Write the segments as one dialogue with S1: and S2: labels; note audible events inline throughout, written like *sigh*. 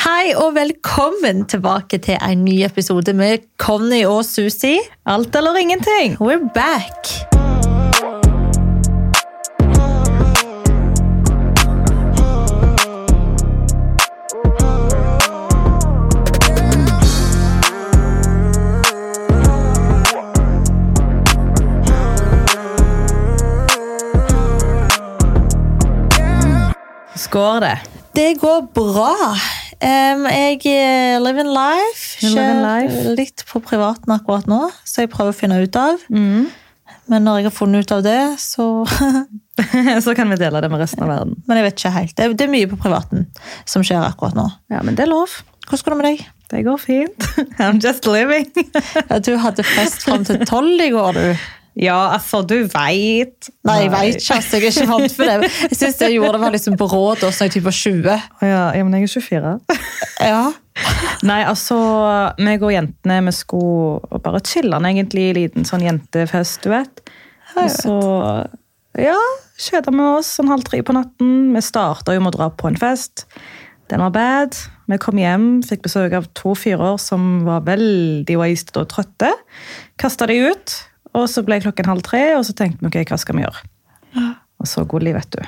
S1: Hei og velkommen tilbake til en ny episode med Conny og Susi. Alt eller ingenting. We're back!
S2: Skår det.
S1: Det går bra. Em, jeg eh, live in life.
S2: You live in
S1: Kjører
S2: life.
S1: Litt på privaten akkurat nå, så jeg prøver å finne ut av. Men når jeg har funnet ut av det, så
S2: *laughs*
S1: *laughs*
S2: Så kan vi dele det med resten av verden.
S1: Men jeg vet ikke helt. Det er, det er mye på privaten som skjer akkurat nå.
S2: Ja, men det er lov.
S1: Hvordan går det med deg?
S2: Det går fint. *laughs* I'm just living.
S1: Ja, du hadde fest fram til tolv i går, du.
S2: *laughs* ja, altså, du veit.
S1: Nei, jeg vet ikke. Altså, jeg er ikke vant for det. Jeg synes det jeg gjorde, det var liksom på råd også når jeg typ var 20.
S2: Å Ja, ja, men jeg er 24.
S1: Ja.
S2: *laughs* Nei, altså, meg og jentene, vi skulle bare chille den egentlig i en liten sånn jentefest, du vet. Og så, ja, kjeda vi oss sånn halv tre på natten. Vi starta jo med å dra på en fest. Den var bad. Vi kom hjem, fikk besøk av to fyrer som var veldig wasted og trøtte. Kasta de ut, og så ble klokken halv tre, og så tenkte vi ok, hva skal vi gjøre? Og så Gulli, vet du.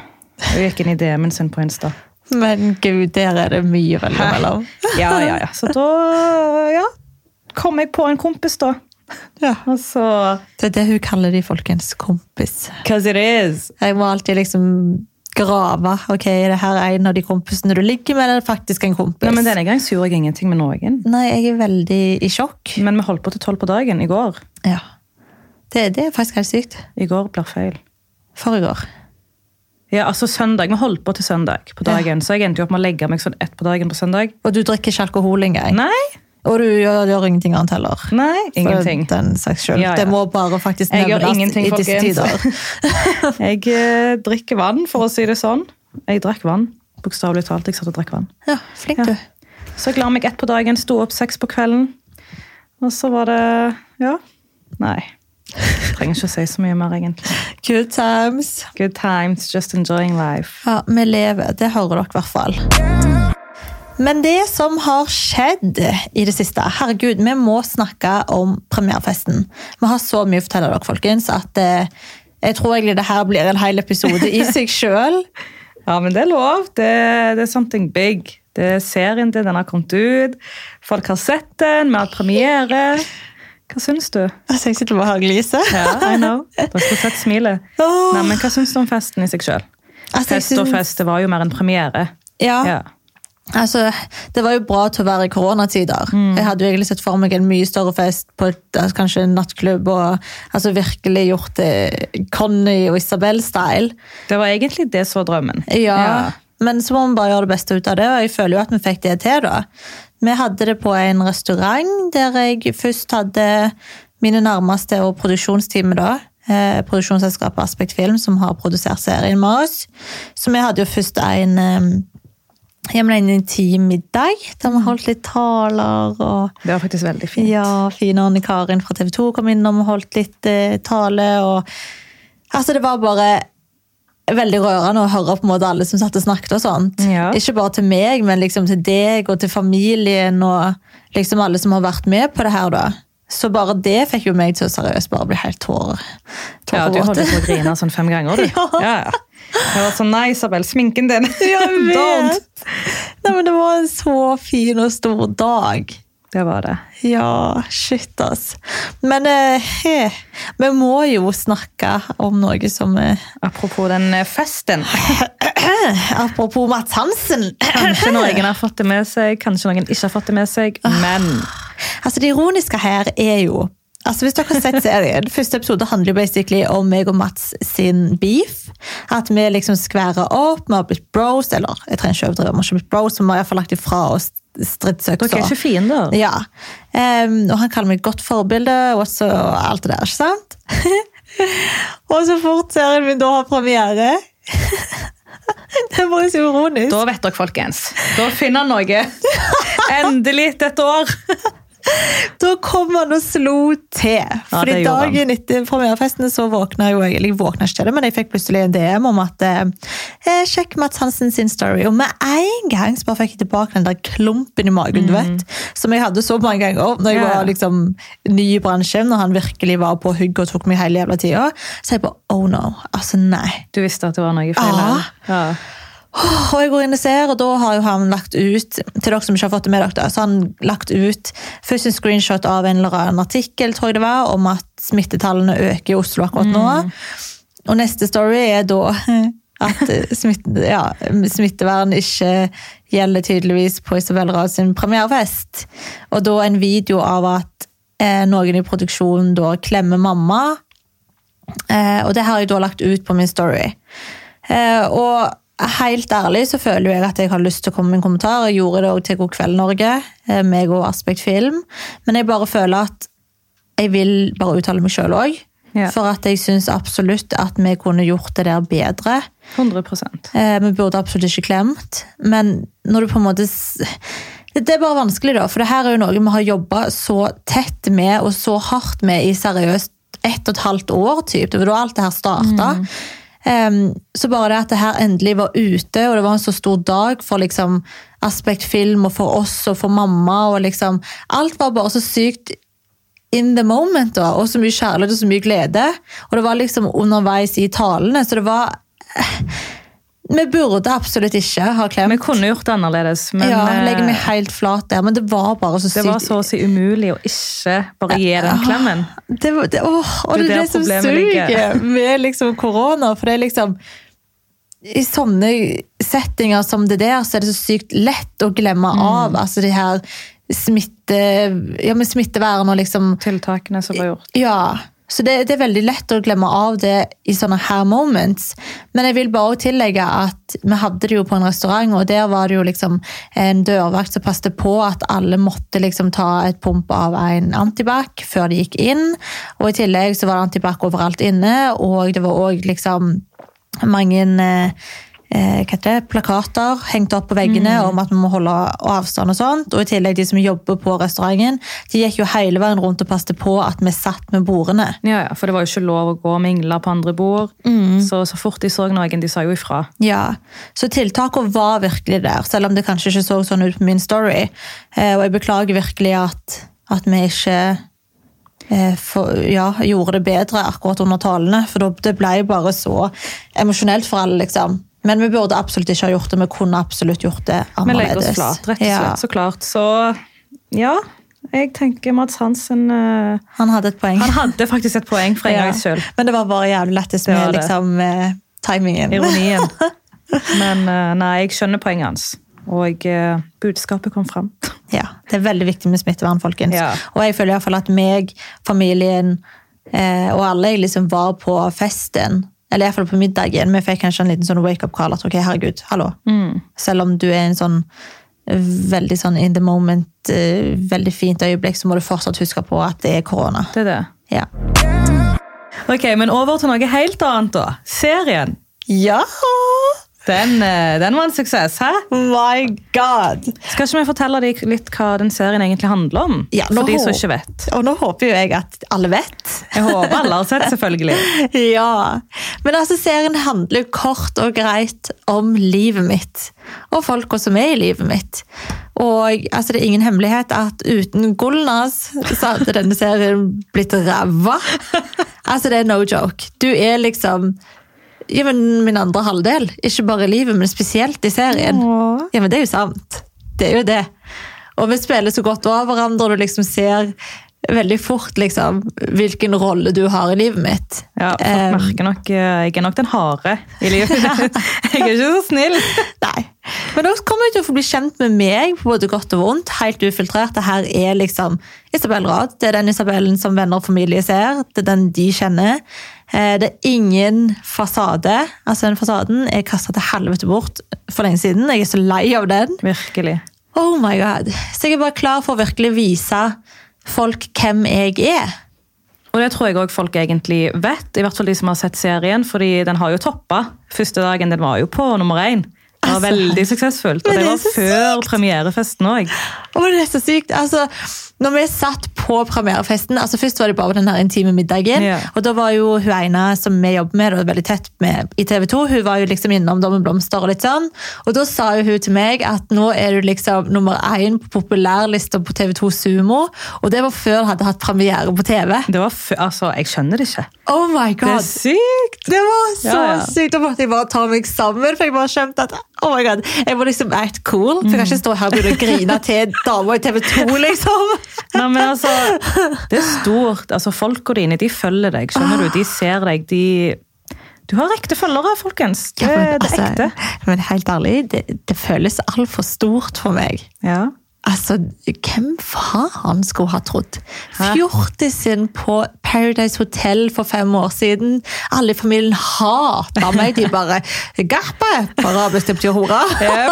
S2: Hun gikk inn i DM-en sin på Insta.
S1: Men gud, der er det mye veldig mellom.
S2: Ja, ja, ja. Så da ja, kom jeg på en kompis, da.
S1: Ja.
S2: Og så
S1: Det er det hun kaller de, folkens. Kompis.
S2: Cause it is.
S1: Jeg må alltid liksom grave. Ok, er det her en av de kompisene du ligger med, eller er det faktisk en kompis?
S2: Nei, men Denne gang så gjorde jeg ingenting med noen.
S1: Nei, jeg er veldig i sjokk.
S2: Men vi holdt på til tolv på dagen i går.
S1: Ja. Det, det er faktisk helt sykt.
S2: I går blir feil.
S1: Forrige år.
S2: Ja, altså søndag. Vi holdt på til søndag på dagen. Så jeg endte jo opp med å legge meg sånn ett på dagen på søndag.
S1: Og du drikker ikke alkohol engang.
S2: Nei,
S1: Og du gjør, gjør ingenting annet heller.
S2: nei, ingenting.
S1: For den saks skyld.
S2: Ja, ja.
S1: Det må bare faktisk
S2: Jeg gjør
S1: nevnes
S2: ingenting,
S1: i disse
S2: folkens.
S1: tider.
S2: *laughs* Jeg eh, drikker vann, for å si det sånn. Jeg drakk vann. Bokstavelig talt. Jeg satt og drakk vann.
S1: Ja, flink
S2: Ja.
S1: du.
S2: Så jeg la meg ett på dagen, sto opp seks på kvelden. Og så var det Ja. Nei. Jeg trenger ikke å si så mye mer, egentlig.
S1: Good times.
S2: Good times, just enjoying life.
S1: Ja, vi lever. Det hører dere i hvert fall. Men det som har skjedd i det siste Herregud, vi må snakke om premierefesten. Vi har så mye å fortelle dere, folkens, at eh, jeg tror egentlig det her blir en hel episode
S2: *laughs*
S1: i seg sjøl.
S2: Ja, men det er lov. Det, det er something big. Det er serien til den har kommet ut. Folk har sett den, vi har hatt premiere. Hva syns du?
S1: Altså, jeg sitter bare og gliser.
S2: Ja, I know. Dere skulle sett smilet.
S1: Åh.
S2: Nei, men hva syns du om festen i seg sjøl?
S1: Altså, jeg
S2: Fest og
S1: syns- Ah.
S2: fest, det var jo mer en premiere.
S1: Ja.
S2: Ja.
S1: Altså, det var jo bra til å være i koronatider. Jeg hadde jo egentlig sett for meg en mye større fest på et, altså, kanskje en nattklubb. og altså, Virkelig gjort det Conny og Isabel-style.
S2: Det var egentlig det som var drømmen.
S1: Ja, Men så må man bare gjøre det beste ut av det, og jeg føler jo at vi fikk det til. da. Vi hadde det på en restaurant der jeg først hadde mine nærmeste og produksjonsteamet da. Eh, produksjonsselskapet Aspekt Film, som har produsert serien med oss. Så vi hadde jo først en eh, ja, men en intim middag, der vi holdt litt taler og
S2: Det var faktisk veldig fint.
S1: ja, fine Anne Karin fra TV 2 kom innom og holdt litt eh, tale. Og, altså, det var bare veldig rørende å høre på en måte alle som satt og snakket. og sånt.
S2: Ja.
S1: Ikke bare til meg, men liksom til deg og til familien og liksom alle som har vært med på det her. da. Så bare det fikk jo meg til å seriøst bare bli helt tårer.
S2: Ja, du holdt jo på å grine sånn fem ganger, du.
S1: *laughs* Ja.
S2: ja. Jeg var sånn, nei, Isabel, sminken din.
S1: *laughs* Jeg
S2: *laughs* Don't.
S1: vet! Nei, men det var en så fin og stor dag.
S2: Det var det.
S1: Ja, shit, ass. Men eh, he, vi må jo snakke om noe som eh,
S2: Apropos den eh, festen.
S1: Apropos Mats Hansen. *coughs*
S2: Kanskje noen har fått det med seg, kanskje noen ikke har fått det med seg, men
S1: altså, det ironiske her er jo Altså, hvis dere har sett serien, *laughs* Første episode handler jo basically om meg og Mats sin beef. At vi liksom skværer opp, vi har blitt bros, eller jeg trenger ikke overdrive, vi har ikke blitt bros, men vi har iallfall lagt ifra oss stridsøksa.
S2: dere er ikke fiender.
S1: Ja. Em, og han kaller meg godt forbilde og så alt det der, ikke sant? *laughs* og så fort serien min da har premiere *laughs* Det er bare så ironisk.
S2: *laughs* Da vet dere, folkens. Da finner han noe. Endelig etter et år.
S1: Da kom han og slo til. Fordi
S2: det gjorde han.
S1: dagen etter premierefesten så våkna jo jeg, eller jeg våkna ikke til det, men jeg fikk plutselig en DM om at eh, sjekk Mats Hansen sin story. Og med en gang så bare fikk jeg tilbake den der klumpen i magen, du vet. Som jeg hadde så mange ganger når jeg
S2: Mhm. Ja, ja.
S1: var liksom ny i bransjen, når han virkelig var på hugg og tok meg hele jævla tida. Så jeg bare oh no. Altså nei.
S2: Du visste at det var noe feil?
S1: Ja.
S2: her. Ja.
S1: Og jeg går inn og ser, og da har jo han lagt ut til dere som ikke har fått det med dere, da, så har han lagt ut først en screenshot av en eller annen artikkel tror jeg det var, om at smittetallene øker i Oslo akkurat nå. Og neste story er da *laughs* at smitte, ja, smittevern ikke gjelder tydeligvis på Isabel Rad sin premierefest. Og da en video av at eh, noen i produksjonen da klemmer mamma, Eh, og det har jeg da lagt ut på min story. Eh, og helt ærlig så føler jeg at jeg har lyst til å komme med en kommentar. Jeg gjorde det også til God kveld Norge, eh, meg og Aspekt Film. Men jeg bare føler at jeg vil bare uttale meg sjøl òg.
S2: Ja.
S1: For at jeg syns absolutt at vi kunne gjort det der bedre.
S2: 100
S1: Eh, vi burde absolutt ikke klemt. Men når du på en måte s- det det er bare vanskelig, da. For det her er jo noe vi har jobba så tett med og så hardt med i seriøst ett og et halvt år, typ. Det var da alt det her starta. Em, så bare det at det her endelig var ute, og det var en så stor dag for liksom Aspekt film og for oss og for mamma og liksom Alt var bare så sykt in the moment, da, og så mye kjærlighet og så mye glede. Og det var liksom underveis i talene, så det var eh, Vi burde absolutt ikke ha klemt.
S2: Vi kunne gjort det annerledes, men
S1: ja,
S2: eh,
S1: legger meg helt flat der, men det var bare så
S2: det
S1: sykt. Ah,
S2: var så å si umulig å ikke bare gi den klemmen.
S1: Det, var- det, åh, og det
S2: Det er
S1: er
S2: der
S1: det som
S2: problemet
S1: suger
S2: ligger.
S1: med liksom korona, for det er liksom i sånne settinger som det der, så er det så sykt lett å glemme
S2: Mm.
S1: av altså de her smitte, ja, men smittevern og liksom
S2: Tiltakene som var gjort.
S1: Ja, så det, det er veldig lett å glemme av det i sånne her moments. Men jeg vil bare også tillegge at vi hadde det jo på en restaurant, og der var det jo liksom en dørvakt som passte på at alle måtte liksom ta et pump av en antibac før de gikk inn. Og i tillegg så var det antibac overalt inne, og det var òg liksom mange eh, eh, hva heter det, plakater hengt opp på veggene
S2: Mm.
S1: om at vi må holde avstand og sånt. Og i tillegg de som jobber på restauranten, de gikk jo hele veien rundt og passte på at vi satt med bordene.
S2: Ja, ja, for det var jo ikke lov å gå og mingle på andre bord. Så, så fort de så noen, de sa jo ifra.
S1: Ja, så tiltakene var virkelig der, selv om det kanskje ikke så sånn ut på min story. Eh, og jeg beklager virkelig at, at vi ikke eh, for, ja, gjorde det bedre akkurat under talene, for da- det ble bare så emosjonelt for alle, liksom. Men vi burde absolutt ikke ha gjort det, vi kunne absolutt gjort det
S2: Vi
S1: annerledes.
S2: legger oss flat, rett og
S1: Ja,
S2: slett, så klart. Så ja, jeg tenker Mads Hansen eh,
S1: han hadde et poeng.
S2: Han hadde faktisk et poeng for en
S1: Ja.
S2: gangs skyld.
S1: Men det var bare jævlig lettest
S2: Det
S1: med
S2: var det.
S1: liksom, eh, timingen.
S2: Ironien. Men eh, nei, jeg skjønner poenget hans. Og eh, budskapet kom fram.
S1: Ja, Det er veldig viktig med smittevern, folkens.
S2: Ja.
S1: Og jeg føler i hvert fall at meg, familien eh, og alle jeg liksom var på festen, eller iallfall på middagen, vi fikk kanskje en liten sånn wake-up-call at ok, herregud, hallo.
S2: Mm.
S1: Selv om du er en sånn eh, veldig sånn in the moment, eh, veldig fint øyeblikk, så må du fortsatt huske på at det er korona.
S2: Det er det.
S1: Ja.
S2: Ok, Men over til noe helt annet, da. Serien.
S1: ja!
S2: Den, eh, den var en suksess, hæ?
S1: My God!
S2: Skal ikke vi fortelle deg litt hva den serien egentlig handler om?
S1: Ja, nå
S2: for de som
S1: håper-
S2: ikke vet.
S1: Og nå håper jo jeg at alle vet.
S2: Jeg håper alle har sett, selvfølgelig.
S1: *laughs* Ja. Men altså, serien handler kort og greit om livet mitt. Og folka som er i livet mitt. Og altså, det er ingen hemmelighet at uten Gulnas så hadde denne serien blitt ræva. Altså, det er no joke. Du er liksom ja, men min andre halvdel. Ikke bare i livet, men spesielt i serien.
S2: Åh.
S1: Ja, men det er jo sant. Det er jo det. Og vi spiller så godt over hverandre, og du liksom ser veldig fort liksom, hvilken rolle du har i livet mitt.
S2: Ja,
S1: Eh,
S2: folk merker nok eh, Jeg er nok den harde i *laughs* livet. Jeg er ikke så snill.
S1: *laughs* Nei. Men dere kommer jo til å få bli kjent med meg på både godt og vondt. Helt ufiltrert. Det her er liksom Isabel Rad. Det er den Isabellen som venner og familie ser. Det er den de kjenner. Eh, Det er ingen fasade. Altså, den fasaden er kasta til helvete bort for lenge siden. Jeg er så lei av den.
S2: Virkelig.
S1: Oh my god. Så jeg er bare klar for å virkelig vise folk hvem jeg er.
S2: Og det tror jeg òg folk egentlig vet, i hvert fall de som har sett serien. fordi den har jo toppa. Første dagen den var jo på nummer én. Det var
S1: Altså,
S2: veldig suksessfullt. Og
S1: men
S2: det
S1: det er
S2: var
S1: så
S2: før premierefesten òg.
S1: Å, det er så sykt. Altså, Når vi satt på premierefesten altså Først var det bare den her intime middagen.
S2: Ja.
S1: Og da var jo hun ene som vi jobber med, og veldig tett med i TV 2, hun var jo liksom innom da med blomster og litt sånn. Og da sa jo hun til meg at nå er du liksom nummer én på populærlista på TV 2 Sumo. Og det var før jeg hadde hatt premiere på TV.
S2: Det var f altså, jeg skjønner det ikke.
S1: Oh my
S2: Det
S1: god!
S2: er sykt!
S1: Det var så
S2: Ja, ja.
S1: sykt! Da måtte jeg bare ta meg sammen. For jeg bare skjønte at oh my god, jeg må liksom act cool. For jeg kan ikke stå her og begynne å grine til damer i TV 2, liksom.
S2: Nei, men altså, det er stort. Altså, Folka dine de følger deg, skjønner du. De ser deg. de... Du har ekte følgere, folkens. Eh, Det,
S1: Ja, men,
S2: det er ekte.
S1: Altså, men helt ærlig, det, det føles altfor stort for meg.
S2: Ja.
S1: Altså, hvem faen skulle ha trodd?
S2: Hæ?
S1: Fjortisen på Paradise Hotel for fem år siden. Alle i familien hater meg. De bare 'Garpe!' på arabisk det betyr hore. *laughs*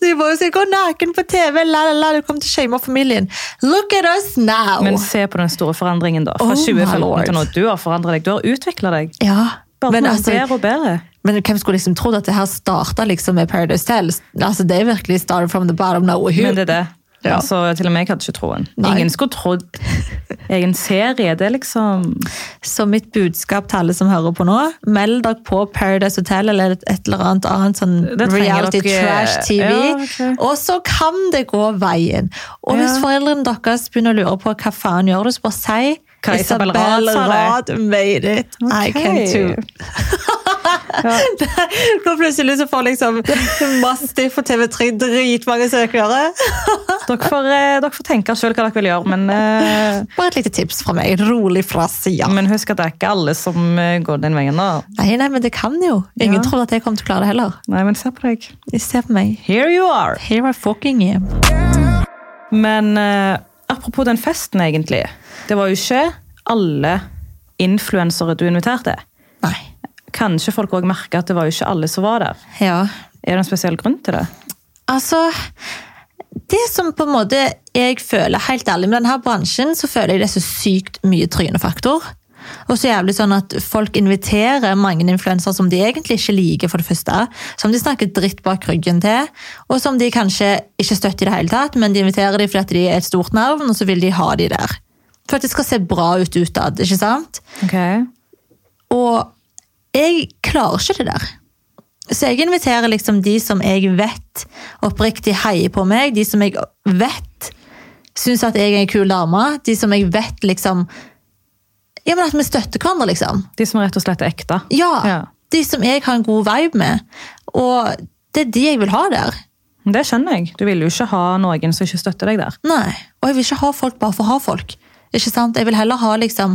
S1: De bare sier 'gå naken på TV', la, la, la, du kommer til å shame familien. Look at us now!
S2: Men se på den store forandringen, da. Fra
S1: Oh my
S2: 2015
S1: lord.
S2: til nå. Du har forandret deg. Du har utvikla deg.
S1: ja,
S2: Bare
S1: men
S2: noe
S1: altså,
S2: bedre og bedre.
S1: Men hvem skulle liksom trodd at det her starta liksom med Paradise Tell? Altså, det er virkelig started from the bottom now.
S2: Men det er det.
S1: Ja.
S2: Altså, til og med jeg hadde ikke troen.
S1: Nei.
S2: Ingen skulle trodd egen serie. Det er liksom
S1: Så mitt budskap til alle som hører på nå, meld dere på Paradise Hotel eller et, et eller annet annet sånn
S2: Det trenger
S1: reality
S2: dere-
S1: trash TV,
S2: Ja, ok.
S1: og så kan det gå veien. Og hvis
S2: Ja.
S1: foreldrene deres begynner å lure på hva faen gjør du, så bare si
S2: Hva Isabel Rad sa
S1: Rad made it. I
S2: Ok.
S1: can too.
S2: *laughs* Ja.
S1: Nå plutselig så får liksom
S2: *laughs*
S1: Mastiff og TV3 dritmange søkere.
S2: Dere får, eh, dere får tenke sjøl hva dere vil gjøre, men, eh,
S1: Bare et lite tips fra meg. Rolig fra sida.
S2: men husk at det er ikke alle som eh, går den veien. da.
S1: Nei, nei, men det kan jo. Ingen
S2: Ja.
S1: tror at jeg kommer til å klare det heller.
S2: Nei, men se på deg.
S1: Se på meg.
S2: Here you are!
S1: Here I fucking am.
S2: Men eh, apropos den festen, egentlig. Det var jo ikke alle influensere du inviterte.
S1: Nei.
S2: Kanskje folk òg merka at det var jo ikke alle som var der.
S1: Ja.
S2: Er det en spesiell grunn til det?
S1: Altså Det som på en måte jeg føler, helt ærlig med denne bransjen, så føler jeg det er så sykt mye trynefaktor. Og så jævlig sånn at folk inviterer mange influensere som de egentlig ikke liker, for det første. Som de snakker dritt bak ryggen til, og som de kanskje ikke støtter i det hele tatt, men de inviterer dem fordi at de er et stort navn, og så vil de ha de der. For at det skal se bra ut utad, ikke sant? Og jeg klarer ikke det der. Så jeg inviterer liksom de som jeg vet oppriktig heier på meg, de som jeg vet syns at jeg er en kul dame, de som jeg vet liksom Ja, men at vi støtter hverandre, liksom.
S2: De som rett og slett er ekte.
S1: Ja.
S2: Ja.
S1: De som jeg har en god vibe med. Og det er de jeg vil ha der.
S2: Det skjønner jeg. Du vil jo ikke ha noen som ikke støtter deg der.
S1: Nei. Og jeg vil ikke ha folk bare for å ha folk. Ikke sant? Jeg vil heller ha liksom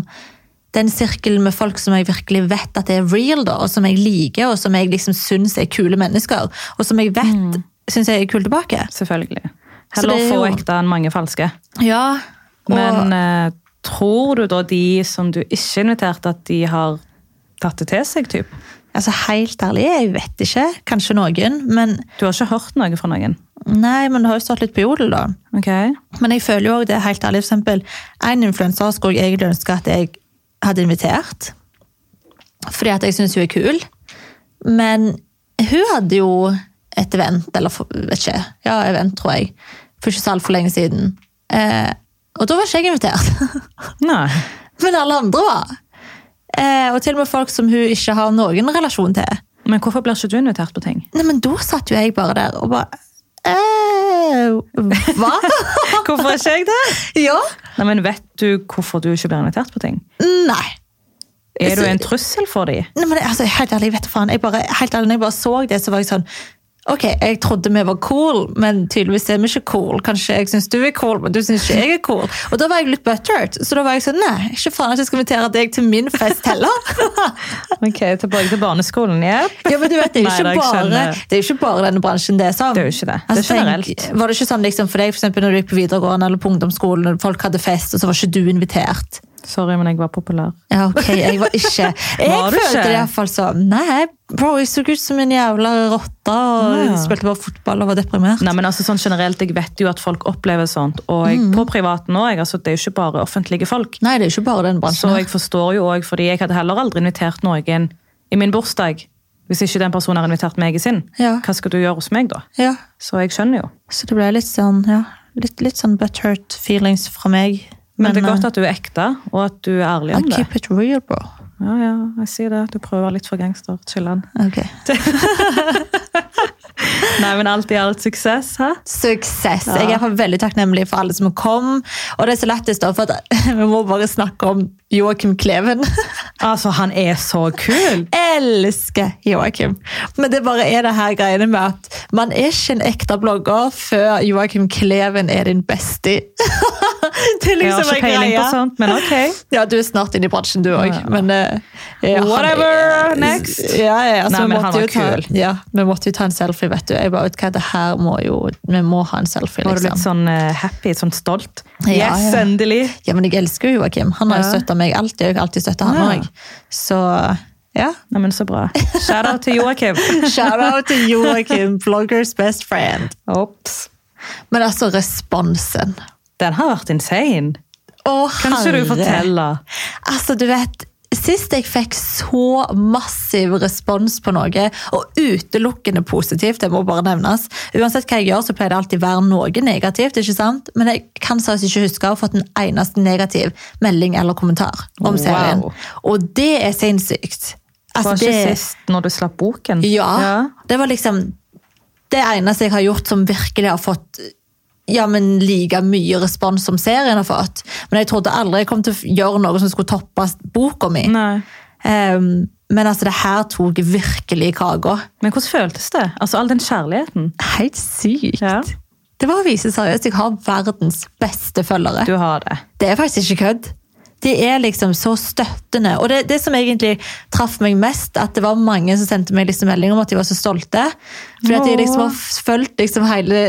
S1: den sirkelen med folk som jeg virkelig vet at er real, da, og som jeg liker, og som jeg liksom syns er kule mennesker, og som jeg vet syns jeg er kule tilbake.
S2: Selvfølgelig.
S1: Så det
S2: Heller
S1: er
S2: få
S1: jo-
S2: ekte enn mange falske.
S1: Ja, og,
S2: Men eh, tror du da de som du ikke inviterte, at de har tatt det til seg? Typ?
S1: altså Helt ærlig, jeg vet ikke. Kanskje noen. Men
S2: Du har ikke hørt noe fra noen?
S1: nei, men det har jo stått litt på jodel, da.
S2: Ok.
S1: Men jeg føler jo også det helt ærlig. For eksempel, en influenser skulle jeg egentlig ønske at jeg hadde invitert. Fordi at jeg syns hun er kul. Men hun hadde jo et event, eller for- vet ikke, ja, event, tror jeg, for ikke så altfor lenge siden. Eh, og da var ikke jeg invitert. *laughs*
S2: Nei.
S1: Men alle andre var. Eh, og til og med folk som hun ikke har noen relasjon til.
S2: Men hvorfor blir ikke du invitert på ting?
S1: Nei, men da satt jo jeg bare der og bare eh, Hva?
S2: Hvorfor er ikke jeg det?
S1: ja?
S2: Nei, men Vet du hvorfor du ikke blir invitert på ting?
S1: Nei.
S2: Er du en trussel for dem?
S1: Nei, men det- altså, helt ærlig, vet du faen. Jeg bare, helt ærlig, når jeg bare så det, så var jeg sånn Ok, jeg trodde vi var cool, men tydeligvis er vi ikke cool. Kanskje jeg syns du er cool, men du syns ikke jeg er cool. Og da var jeg litt buttered, så da var jeg sånn Nei, ikke faen at jeg skal invitere deg til min fest
S2: *laughs*
S1: heller.
S2: Ok, Tilbake til barneskolen. Yep.
S1: ja, men du vet, Det er jo
S2: Nei,
S1: ikke,
S2: da, jeg
S1: bare,
S2: skjønner.
S1: det er jo ikke bare denne bransjen det er sånn.
S2: Det er jo ikke det. Det er generelt.
S1: var det ikke sånn liksom, for deg for eksempel, når du gikk på videregående eller på ungdomsskolen, og folk hadde fest, og så var ikke du invitert?
S2: Sorry, men jeg var populær.
S1: Ja, ok, jeg var ikke *laughs* Jeg
S2: Var du
S1: følte
S2: ikke?
S1: det iallfall sånn. Nei, bro, jeg så ut som en jævla rotte og
S2: Ja.
S1: spilte bare fotball og var deprimert.
S2: Nei, men altså sånn generelt, Jeg vet jo at folk opplever sånt. Og jeg, på privaten òg. Altså, det er jo ikke bare offentlige folk.
S1: Nei, det er ikke bare den
S2: Så
S1: bransjen. her.
S2: jeg forstår jo òg, fordi jeg hadde heller aldri invitert noen i min bursdag hvis ikke den personen har invitert meg i sin.
S1: Ja.
S2: Hva skal du gjøre hos meg, da?
S1: Ja,
S2: Så jeg skjønner jo.
S1: så det ble litt sånn, ja. Litt, litt sånn butthurt feelings fra meg. eh,
S2: Men eh, det er godt at du er ekte, og at du er ærlig
S1: I
S2: om det.
S1: keep it real, bro.
S2: Ja, ja, jeg sier det. Du prøver å være litt for gangster. Chiller'n.
S1: Ok.
S2: *laughs* Nei, men alt i alt suksess, hæ?
S1: Suksess. Jeg er i hvert fall veldig takknemlig for alle som kom. Og det er så lættis, da, for at, *laughs* vi må bare snakke om Joakim Kleven. *laughs*
S2: Altså, han er så kul!
S1: Elsker Joakim. Men det bare er det her greiene med at man er ikke en ekte blogger før Joakim Kleven er din bestie. *laughs* det er
S2: Jeg har
S1: liksom
S2: ikke
S1: en
S2: peiling på
S1: greie.
S2: sånt, men ok.
S1: Ja, du er snart inne i bransjen, du òg.
S2: Ja.
S1: Men eh, ja, han
S2: Whatever,
S1: er-
S2: next.
S1: Ja, ja, ja, så
S2: Nei,
S1: vi
S2: men
S1: måtte
S2: han
S1: jo
S2: var
S1: ta,
S2: kul.
S1: Ja, vi måtte jo ta en selfie, vet du. Jeg bare, vet du hva, det her må jo Vi må ha en selfie,
S2: Var du litt
S1: liksom.
S2: sånn eh, happy, sånn stolt?
S1: Ja,
S2: Yes,
S1: ja.
S2: endelig!
S1: Ja, men jeg elsker jo Joakim. Han har jo
S2: sånn? Ja.
S1: støtta meg alltid, og jeg har alltid støtta han
S2: Ja.
S1: òg. Så ja.
S2: Nei, men så bra. Shout-out til
S1: *laughs*
S2: Joakim.
S1: Shout-out til Joakim, bloggers best friend.
S2: Ops.
S1: Men altså, responsen.
S2: Den har vært insane.
S1: Å,
S2: Kan ikke du fortelle?
S1: Altså, du vet, Sist jeg fikk så massiv respons på noe, og utelukkende positivt, det må bare nevnes Uansett hva jeg gjør, så pleier det alltid være noe negativt, ikke sant? Men jeg kan seriøst ikke huske å ha fått en eneste negativ melding eller kommentar om
S2: Wow.
S1: serien. Og det er sinnssykt.
S2: Var ikke sist når du slapp boken?
S1: Altså, Ja, Det var liksom det eneste jeg har gjort som virkelig har fått ja, men like mye respons som serien har fått. Men jeg trodde aldri jeg kom til å gjøre noe som skulle toppe boka mi.
S2: Nei.
S1: Ehm, men altså, det her tok virkelig kaka.
S2: Men hvordan føltes det? Altså, all den kjærligheten.
S1: Helt sykt.
S2: Ja.
S1: Det var å vise seriøst. Jeg har verdens beste følgere.
S2: Du har det.
S1: Det er faktisk ikke kødd. De er liksom så støttende. Og det, det som egentlig traff meg mest, at det var mange som sendte meg liksom melding om at de var så stolte. Fordi at de liksom har fulgt liksom hele,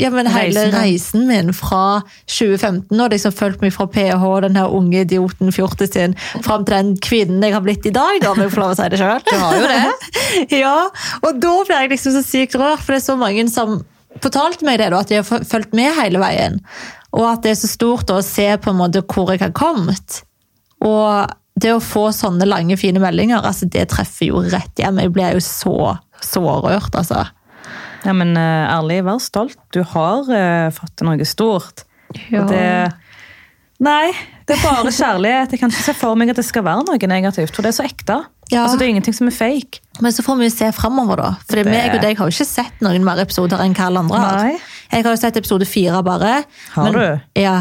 S1: ja, men hele
S2: Reisen, ja.
S1: reisen min fra 2015, og liksom fulgt meg fra PH, den her unge idioten fjortisen, fram til den kvinnen jeg har blitt i dag, da, om jeg får lov å si det sjøl. Du har jo det. *laughs* ja, og da ble jeg liksom så sykt rørt, for det er så mange som fortalte meg det, da, at de har fulgt med hele veien. Og at det er så stort da, å se på en måte hvor jeg har kommet. Og det å få sånne lange, fine meldinger, altså det treffer jo rett hjem. Jeg blir jo så, så rørt, altså.
S2: Ja, men eh, ærlig, vær stolt. Du har eh, fått til noe stort.
S1: Ja.
S2: Og det Nei, det er bare kjærlighet. Jeg kan ikke se for meg at det skal være noe negativt, for det er så ekte.
S1: Ja.
S2: Altså, det er ingenting som er fake.
S1: Men så får vi jo se fremover, da. For det...
S2: Det-
S1: meg og deg har jo ikke sett noen mer episoder enn hva alle andre har.
S2: Nei.
S1: Jeg har jo sett episode fire bare.
S2: Har
S1: du? Ja.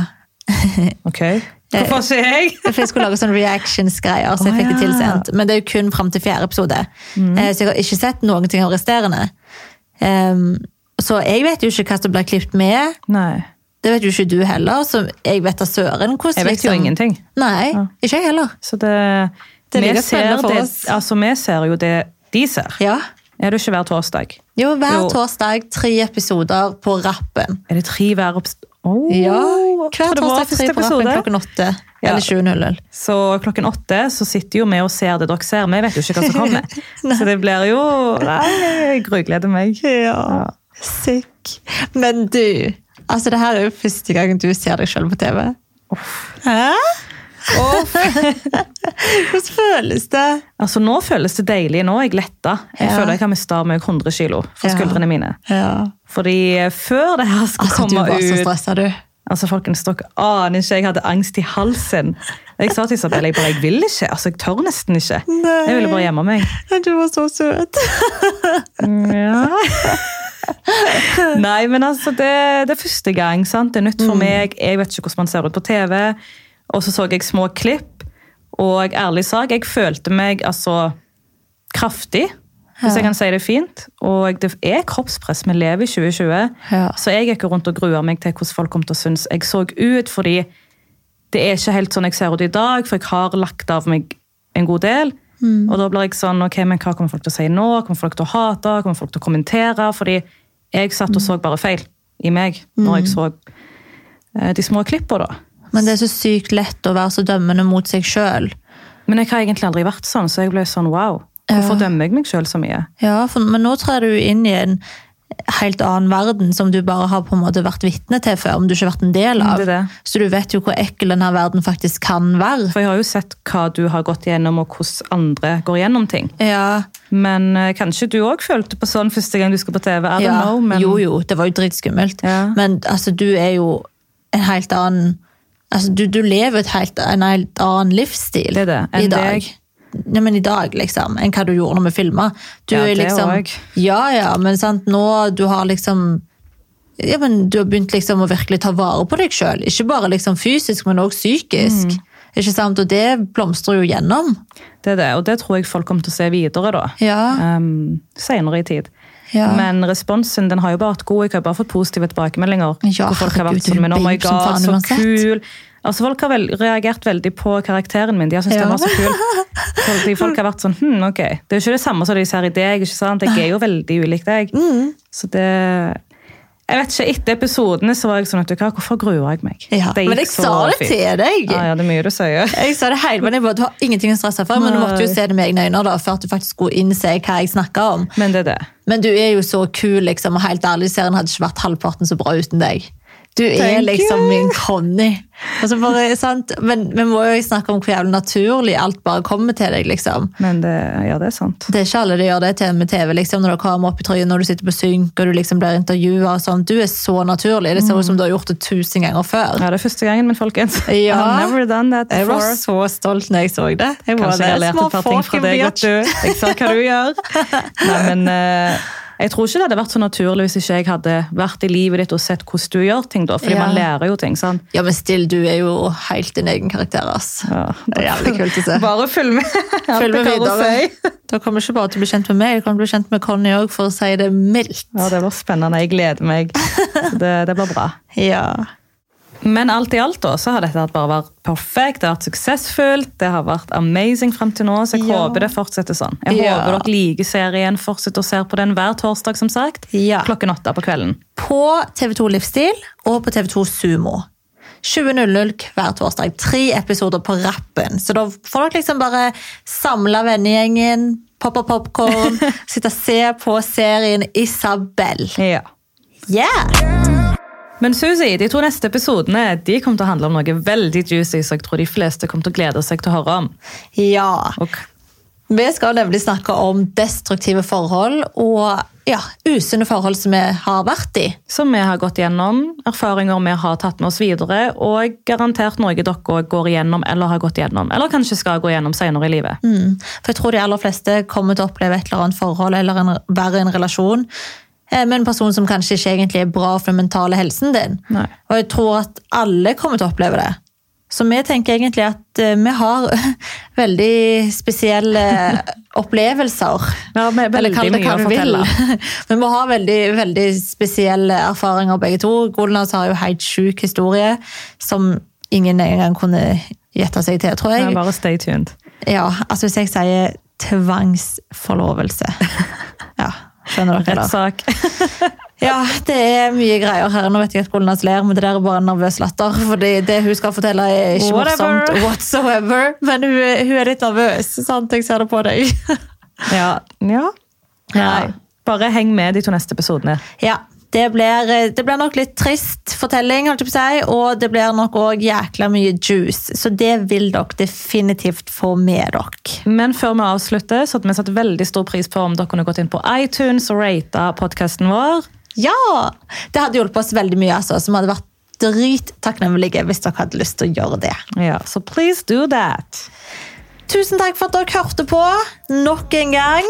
S2: Ok.
S1: Eh,
S2: Hvorfor ikke jeg?
S1: For jeg skulle lage sånne reactions-greier, så jeg
S2: Å,
S1: fikk det
S2: ja. Mm.
S1: tilsendt. Men det er jo kun fram til fjerde episode. Eh, Så jeg har ikke sett noen ting av resterende. Ehm, så jeg vet jo ikke hva som blir klippet med.
S2: Nei.
S1: Det vet jo ikke du heller, så jeg vet da søren hvordan
S2: Jeg vet jo
S1: liksom-
S2: ingenting.
S1: Nei, ikke jeg heller.
S2: Så det,
S1: Det
S2: vi
S1: ligger
S2: ser
S1: spennende for
S2: det,
S1: oss.
S2: altså, vi ser jo det de ser.
S1: Ja.
S2: Er det ikke hver torsdag?
S1: Jo, hver
S2: Jo.
S1: torsdag tre episoder på rappen.
S2: Er det tre hver oppst... Oh,
S1: Ja, Hver
S2: tror det var
S1: torsdag tre
S2: første
S1: på rappen
S2: episode.
S1: klokken åtte.
S2: Ja.
S1: Eller 20.00.
S2: Så klokken åtte så sitter jo vi og ser det dere ser. Vi vet jo ikke hva som kommer.
S1: *laughs*
S2: så det blir jo Nei, jeg grugleder meg.
S1: Ja, sick. Men du, altså det her er jo første gangen du ser deg selv på TV. Hæ? *laughs* Hvordan føles det?
S2: Altså Nå føles det deilig. Nå er jeg letta. Jeg
S1: Ja.
S2: føler jeg har mista meg 100 kilo fra
S1: Ja.
S2: skuldrene mine.
S1: Ja.
S2: Fordi før det her skulle
S1: Altså, du
S2: komme
S1: var så
S2: ut
S1: stressa, du.
S2: Altså folkens, Dere aner ikke. Jeg hadde angst i halsen. Jeg sa til Isabel jeg bare, jeg vil ikke. altså Jeg tør nesten ikke.
S1: Nei.
S2: Jeg ville bare gjemme meg.
S1: Du var så søt.
S2: Nei, men altså, det, det er første gang. sant? Det er nytt for
S1: Mm.
S2: meg. Jeg vet ikke hvordan man ser ut på TV. Og så så jeg små klipp. Og ærlig sak, jeg følte meg altså kraftig, hvis jeg kan si det fint. Og det er kroppspress. Vi lever i 2020.
S1: Ja.
S2: Så jeg gikk jo rundt og grua meg til hvordan folk kom til å synes jeg så ut. fordi det er ikke helt sånn jeg ser ut i dag, for jeg har lagt av meg en god del.
S1: Mm.
S2: Og da blir jeg sånn, ok, men hva kommer folk til å si nå? Kommer folk til å hate? Kommer folk til å kommentere? Fordi jeg satt og
S1: Mm.
S2: så bare feil i meg når jeg så eh, de små klippene da.
S1: Men det er så sykt lett å være så dømmende mot seg sjøl.
S2: Men jeg har egentlig aldri vært sånn, så jeg ble sånn, wow. Hvorfor dømmer jeg meg selv så mye?
S1: Ja, for, men nå trer du inn i en helt annen verden som du bare har på en måte vært vitne til før, om du ikke har vært en del av.
S2: Mm, Det er det.
S1: Så du vet jo hvor ekkel denne verden faktisk kan være.
S2: For jeg har jo sett hva du har gått gjennom, og hvordan andre går gjennom ting.
S1: Ja,
S2: Men eh, kanskje du òg følte på sånn første gang du skal på TV? I don't
S1: ja.
S2: know, men
S1: Jo, jo, det var jo dritskummelt.
S2: Ja.
S1: Men altså, du er jo en helt annen Altså, du, du lever et helt, en helt annen livsstil
S2: Det er det,
S1: i
S2: enn
S1: dag.
S2: deg.
S1: Ja, men i dag, liksom, enn hva du gjorde når vi filma.
S2: Ja,
S1: er
S2: det
S1: liksom,
S2: også.
S1: Ja, ja, men sant, nå du har liksom ja, men du har begynt liksom å virkelig ta vare på deg sjøl. Ikke bare liksom fysisk, men òg psykisk.
S2: Mm.
S1: Ikke sant? Og det blomstrer jo gjennom.
S2: det er det. Og det tror jeg folk kommer til å se videre, da.
S1: Ja.
S2: Um, senere i tid.
S1: Ja.
S2: Men responsen den har jo bare vært god. Jeg har jo bare fått positive tilbakemeldinger.
S1: Ja,
S2: hvor folk har
S1: herregud, du
S2: vært
S1: er
S2: sånn, men oh my
S1: babe som
S2: god,
S1: faen
S2: så
S1: uansett."
S2: kul. Altså, Folk har vel reagert veldig på karakteren min. De har syntes
S1: Ja.
S2: den var så kul. Fordi folk har vært sånn hm, ok. Det er jo ikke det samme som de ser i deg. ikke sant? Jeg er jo veldig ulik deg.
S1: Mm.
S2: Så det Jeg vet ikke, Etter episodene så var jeg sånn at du, hva, Hvorfor gruer jeg meg?
S1: Ja.
S2: gikk
S1: Men jeg
S2: så
S1: sa det
S2: fint.
S1: til deg!
S2: Ja, ja, det er mye du sier.
S1: Jeg sa det hele, men jeg bare, Du har ingenting å stresse for, men du måtte jo
S2: Nei.
S1: se det med egne øyne da, før at du faktisk skulle innse hva jeg snakka om.
S2: Men det er det.
S1: Men du er jo så kul, liksom, og helt ærlig, serien hadde ikke vært halvparten så bra uten deg. Du er
S2: Thank
S1: liksom min Conny. Altså bare, sant? Men vi må jo snakke om hvor jævlig naturlig alt bare kommer til deg. liksom.
S2: Men det, ja, det er sant.
S1: Det er ikke alle de gjør det til med TV, liksom, når det kommer opp i trynet, når du sitter på synk og du liksom blir intervjua og sånn. Du er så naturlig. Det ser ut som du har gjort det tusen ganger før.
S2: Ja, det er første gangen min, *laughs* folkens.
S1: Ja.
S2: I've never done that
S1: Jeg
S2: before.
S1: var så stolt når jeg så det. Jeg
S2: Kanskje jeg har lært et par ting fra deg, vet *laughs* du. Jeg ser hva du gjør. Nei, men eh, jeg tror ikke det hadde vært så naturlig hvis ikke jeg hadde vært i livet ditt og sett hvordan du gjør ting, da. Fordi
S1: Ja.
S2: man lærer jo ting, sant.
S1: Ja, men still, du er jo helt din egen karakter, ass.
S2: Ja.
S1: Det er jævlig kult å se.
S2: *laughs* Bare følg med. Alt
S1: Følg med
S2: jeg har å
S1: videre.
S2: si. *laughs*
S1: Da kommer ikke bare til å bli kjent med meg, du kommer til å bli kjent med Conny òg, for å si det mildt.
S2: Ja, det var spennende. Jeg gleder *laughs* meg. Så Det, det blir bra.
S1: Ja.
S2: Men alt i alt da, så har dette bare vært perfekt, det har vært suksessfullt, det har vært amazing frem til nå, så jeg
S1: Ja.
S2: håper det fortsetter sånn. Jeg
S1: Ja.
S2: håper dere liker serien, fortsetter å se på den hver torsdag, som sagt,
S1: Ja.
S2: klokken åtte på kvelden.
S1: På TV2 Livsstil og på TV2 Sumo. 20.00 hver torsdag. Tre episoder på rappen. Så da får dere liksom bare samla vennegjengen, poppe popkorn,
S2: *laughs*
S1: sitte og se på serien Isabel.
S2: Ja.
S1: Yeah!
S2: Men Susi, de to neste episodene de kommer til å handle om noe veldig juicy, så jeg tror de fleste kommer til å glede seg til å høre om.
S1: Ja.
S2: Og
S1: Vi skal nemlig snakke om destruktive forhold og ja, usunne forhold som vi har vært i.
S2: som vi har gått gjennom, erfaringer vi har tatt med oss videre, og garantert noe dere også går igjennom, eller har gått gjennom, eller kanskje skal gå gjennom senere i livet.
S1: Mm. For jeg tror de aller fleste kommer til å oppleve et eller annet forhold eller en, være i en relasjon eh, med en person som kanskje ikke egentlig er bra for den mentale helsen din.
S2: Nei.
S1: Og jeg tror at alle kommer til å oppleve det. Så vi tenker egentlig at eh, vi har *laughs* veldig spesielle opplevelser.
S2: Ja, vi har
S1: Eller kall det
S2: veldig
S1: hva
S2: mye å
S1: du vil.
S2: fortelle.
S1: Men *laughs* vi har veldig, veldig spesielle erfaringer begge to. Golnas har jo helt sjuk historie som ingen engang kunne gjette seg til, tror
S2: Ja,
S1: jeg.
S2: Bare stay tuned.
S1: Ja, altså hvis jeg sier *laughs* tvangsforlovelse. Ja, skjønner dere det? *laughs*
S2: Rettssak.
S1: Ja, det er mye greier her. Nå vet jeg at Golnas ler, men det der er bare en nervøs latter. fordi det hun skal fortelle er ikke
S2: Whatever.
S1: morsomt whatsoever. Men hun, er- hun er litt nervøs, sant? Jeg ser det på deg.
S2: Ja. ja.
S1: *laughs*
S2: Nei. Bare heng med de to neste episodene.
S1: Ja, det blir, det blir nok litt trist fortelling, holdt jeg på å si, og det blir nok òg jækla mye juice. Så det vil dere definitivt få med dere.
S2: Men før vi avslutter, så hadde vi satt veldig stor pris på om dere kunne gått inn på iTunes og rata podkasten vår.
S1: Ja! Det hadde hjulpet oss veldig mye, altså, som hadde vært drittakknemlige hvis dere hadde lyst til å gjøre det.
S2: Ja, Så please do that.
S1: Tusen takk for at dere hørte på nok en gang.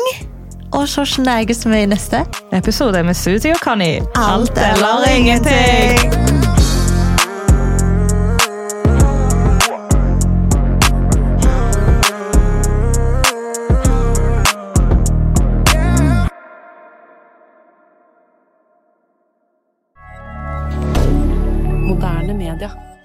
S1: Og så snakkes vi i neste.
S2: Episode med Suzy og Connie.
S1: Alt eller ingenting.
S3: Moderne media.